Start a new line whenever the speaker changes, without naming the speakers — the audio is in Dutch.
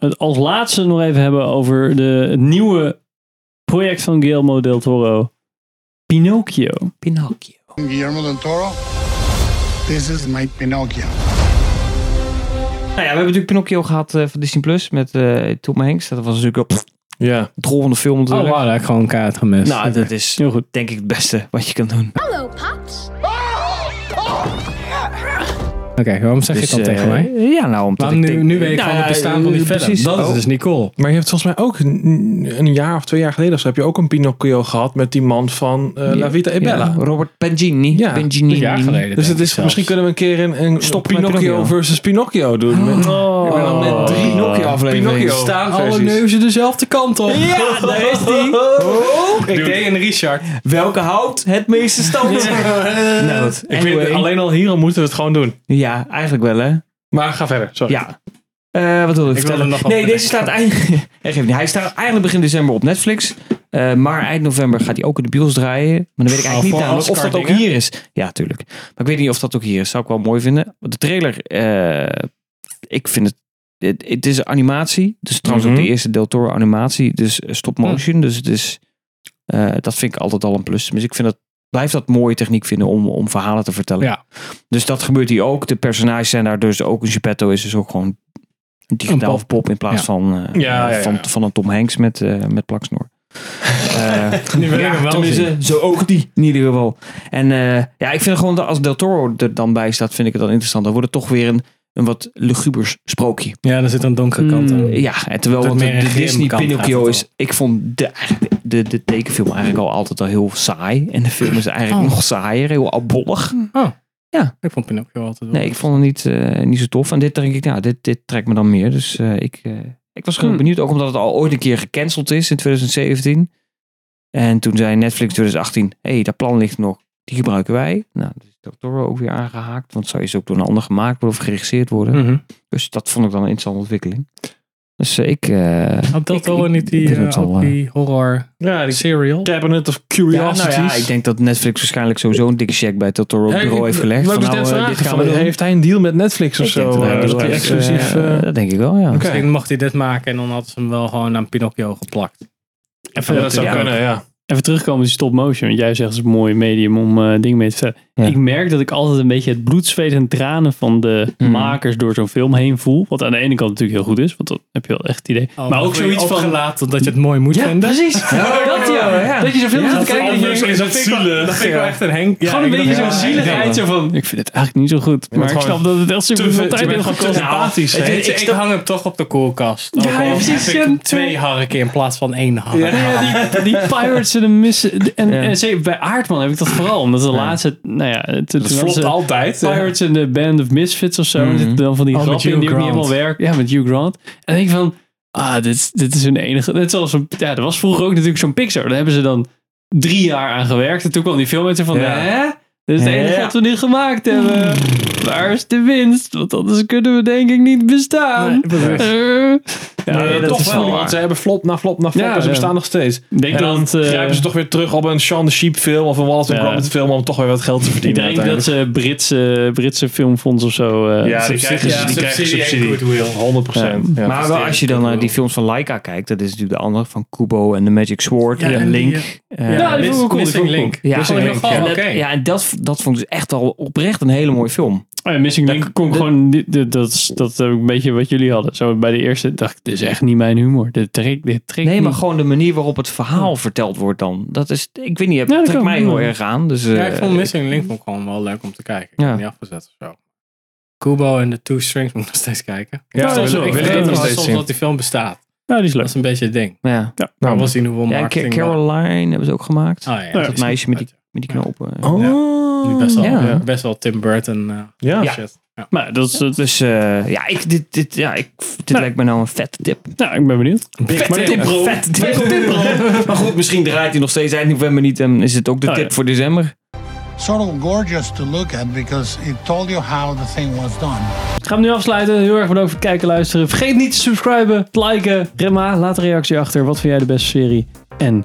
het als laatste nog even hebben over de, het nieuwe project van Guillermo del Toro. Pinocchio.
Pinocchio.
Guillermo del Toro. This is my Pinocchio.
Nou ja, we hebben natuurlijk Pinocchio gehad eh, van Disney Plus met eh Tom Hanks. Dat was natuurlijk op
Ja.
drol van de film
Oh,
natuurlijk.
wauw, daar heb ik gewoon een kaart gemist.
Nou, dat is
Heel goed.
denk ik het beste wat je kan doen.
Hello, Pops.
Oké, waarom zeg je
Dus,
dat
eh,
tegen mij?
Ja, nou, omdat
Waarom
ik
nu,
denk-
nu weet ik
Nou
gewoon het
ja,
bestaan van die film.
precies.
Dat is
Oh.
dus niet cool.
Maar je hebt volgens mij ook een, een jaar of twee jaar geleden of zo, heb je ook een Pinocchio gehad met die man van eh, La Vita e Bella.
Ja, Nou, Robert Pangini.
Ja,
Pangini.
Een jaar geleden.
Dus het
denk ik
is,
zelfs.
misschien kunnen we een keer een, een
Stop met
Pinocchio,
Pinocchio.
versus Pinocchio doen. Met,
Oh.
en dan met drie
Pinocchio-afleveringen.
Pinocchio
alle
staanversies.
neuzen dezelfde kant op.
Ja, daar is die.
Ik deed een Richard.
Welke houdt het meeste stand? nou, goed.
Ik
Anyway.
vind, alleen al hier al moeten we het gewoon doen.
Ja, eigenlijk wel hè.
Maar ga verder, sorry.
Ja. Eh, wat wilde ik,
Ik wilde
vertellen?
nog wat
nee,
bedenken.
deze staat eigenlijk... Eh, geeft niet. Hij staat eigenlijk begin december op Netflix. Eh, maar eind november gaat hij ook in de bios draaien. Maar dan weet ik
Oh,
eigenlijk
voor
niet namelijk of dat ook
Oscar-dingen?
hier is. Ja, tuurlijk. Maar ik weet niet of dat ook hier is. Zou ik wel mooi vinden. Want De trailer... eh, ik vind het... Het, het is een animatie. Dus trouwens ook
Mhm. Mm.
de eerste Del Toro animatie. Dus eh, stop motion. Dus het is... eh, dat vind ik altijd al een plus. Dus ik vind dat, blijf dat mooie techniek vinden om, om verhalen te vertellen.
Ja.
Dus dat gebeurt hier ook. De personages zijn daar dus ook. Een Geppetto is dus ook gewoon een digitaal
Een
pop. in plaats
Ja.
van, eh,
Ja, ja, ja.
van, van een Tom Hanks met, eh, met plaksnor. Eh,
Nu wil ik
ja,
hem wel
tenminste,
zien.
zo ook die in ieder geval. En eh, ja, ik vind gewoon dat als Del Toro er dan bij staat, vind ik het dan interessant. Dan wordt het toch weer een, een wat lugubers sprookje.
Ja, er zit een
Mm,
donkere kant aan.
Hmm. Ja, en terwijl
Dat
wat
meer
de,
een
de Disney
grimkant gaat
Pinocchio
het
is, ik vond de, de, de tekenfilm eigenlijk al altijd al heel saai. En de film is eigenlijk
Oh.
nog saaier, heel oudbollig.
Ik vond Pinocchio altijd wel.
Nee, ik vond het niet, eh, niet zo tof. En dit denk ik, nou, dit, dit trekt me dan meer. Dus eh, ik, eh, ik was gewoon
Hmm.
benieuwd. Ook omdat het al ooit een keer gecanceld is in 2017. En toen zei Netflix 2018, hé, hey, dat plan ligt er nog. Die gebruiken wij. Nou, dat is Del Toro ook weer aangehaakt. Want zou je ze ook door een ander gemaakt worden of geregisseerd worden.
Mhm.
Dus dat vond ik dan een interessante ontwikkeling. Dus eh, ik... eh,
Had dat
Ik-
wel
ik-
niet
ik
die,
vind het
eh, ook
al, eh,
die horror
Ja, die
serial?
Cabinet of
ja, nou
Curiosities.
ja, ik denk dat Netflix waarschijnlijk sowieso een dikke check bij het Del Toro op het bureau heeft gelegd.
Leuk
Van,
dat
nou, eh,
dit
dit gaan we doen.
Heeft hij een deal met Netflix of
Ik denk
zo?
dat hij
eh,
dus
dat hij
echt,
exclusief...
eh,
eh,
dat denk ik wel, ja.
Oké.
Misschien mocht hij dit maken en dan hadden ze hem wel gewoon aan Pinocchio geplakt.
Even,
Ja, dat zou
ja,
kunnen, ja.
even terugkomen op die stop motion. Want jij zegt het is een mooi medium om eh dingen mee te vertellen.
Ja.
Ik merk dat ik altijd een beetje het bloed, zweet en tranen van de
Mhm.
makers door zo'n film heen voel. Wat aan de ene kant natuurlijk heel goed is, want dan heb je wel echt het idee. maar ook zoiets van...
laten dat je het mooi moet vinden.
precies. dat ja. Dat je zo'n film zit te kijken en je denkt,
dat vind ik wel- dat vind ik wel echt een Henk.
gewoon een beetje zo'n zieligheid. Zo van, ik vind het eigenlijk niet zo goed. Maar ik
gewoon
snap dat het echt super veel tijd
je bent
heeft
gewoon
gekost.
te sympathisch.
Het
hè?
is- ik hang hem toch op de koelkast.
Ja,
Ook al
ja,
heb
precies,
ik
ja.
twee harken in plaats van één hark.
Ja, die, die Pirates en de missen. En, en zeker bij Aardman heb ik dat vooral. Omdat de laatste. Nou ja, het- toen
Dat
was
flopt
het
altijd. eh.
Pirates en de Band of Misfits of zo. En zitten dan van die
Oh, met
grappen in
Hugh
die ook niet
Grant.
helemaal werken. Ja, met Hugh Grant. En ik denk van. Ah, dit, is- dit is hun enige. Net zoals. Een, ja, er was vroeger ook natuurlijk zo'n Pixar. Daar hebben ze dan drie jaar aan gewerkt. En toen kwam die film met ze van.
Ja.
Hè? Dit is het enige
Ja.
wat we nu gemaakt hebben. Waar is de winst? Want anders kunnen we denk ik niet bestaan. Eh. ja,
Eh,
dat
toch
is wel
wel,
waar.
want ze hebben flop na flop na flop
Ja,
en ze
ja.
bestaan nog steeds.
denk
en dan
dat, eh,
grijpen ze toch weer terug op een Sean the Sheep film of een Wallace
Ja.
and Gromit film om toch weer wat geld te
Ik
verdienen.
denk dat
uiteindelijk.
ze Britse, Britse filmfonds of zo. eh,
ja, die krijgen,
ja,
die krijgen
subsidie en
subsidie.
goodwill.
100 procent.
maar wel als je dan naar die films van Laika kijkt, dat is natuurlijk de andere van Kubo en The Magic Sword
Ja,
en,
en die,
Link. Eh,
Ja, die
Miss-
vond ik cool, die
Missing
vond ik cool.
Link.
Ja,
Missing
en-
Link,
en dat-
oké.
ja, en dat, dat vond ik dus echt al oprecht een hele mooie film.
Oh ja, Missing Link kon ik gewoon. niet- Dat, dat, is- dat heb ik een beetje wat jullie hadden. Zo bij de eerste dacht ik, dit is echt niet mijn humor. Dit trek, dit trek
Nee, maar
niet.
gewoon de manier waarop het verhaal verteld wordt dan. Dat is, ik weet niet, het
Ja, dat
trekt
kan.
mij heel erg aan. Dus, eh,
Ja, ik vond Missing Link ook gewoon wel leuk om te kijken. Ik
Ja.
heb hem niet afgezet of zo. Kubo en de Two Strings moet ik nog steeds kijken.
Ja,
dat is wel-
wil
ik
wil
ik
weet
wil
dat
het
wel
nog
wel
steeds
soms
zien.
dat die film bestaat.
Ja, Nou, die is
Dat
leuk.
is een beetje het ding.
ja.
Nou,
Nou,
was zien hoeveel
ja, en Ca-
marketing...
Caroline hebben ze ook gemaakt.
Oh, ja,
dat meisje met die, met die knopen.
Die Best wel,
Ja.
best wel Tim Burton eh,
Ja.
shit. Ja.
Maar dat is. dat is-
Dus eh, ja, ik, dit, dit, ja ik, dit lijkt me nou een vette tip.
nou, ik ben benieuwd.
Vet
Maar dit-
bro. Vet tip, bro. maar goed, misschien draait hij nog steeds eind november niet. En is het ook de
Oh,
tip
ja.
voor december?
Sort of gorgeous to look at because it told you how the thing was done.
Ik ga hem nu afsluiten. Heel erg bedankt voor het kijken en luisteren. Vergeet niet te subscriben, te liken. Remma, laat een reactie achter. Wat vind jij de beste serie? En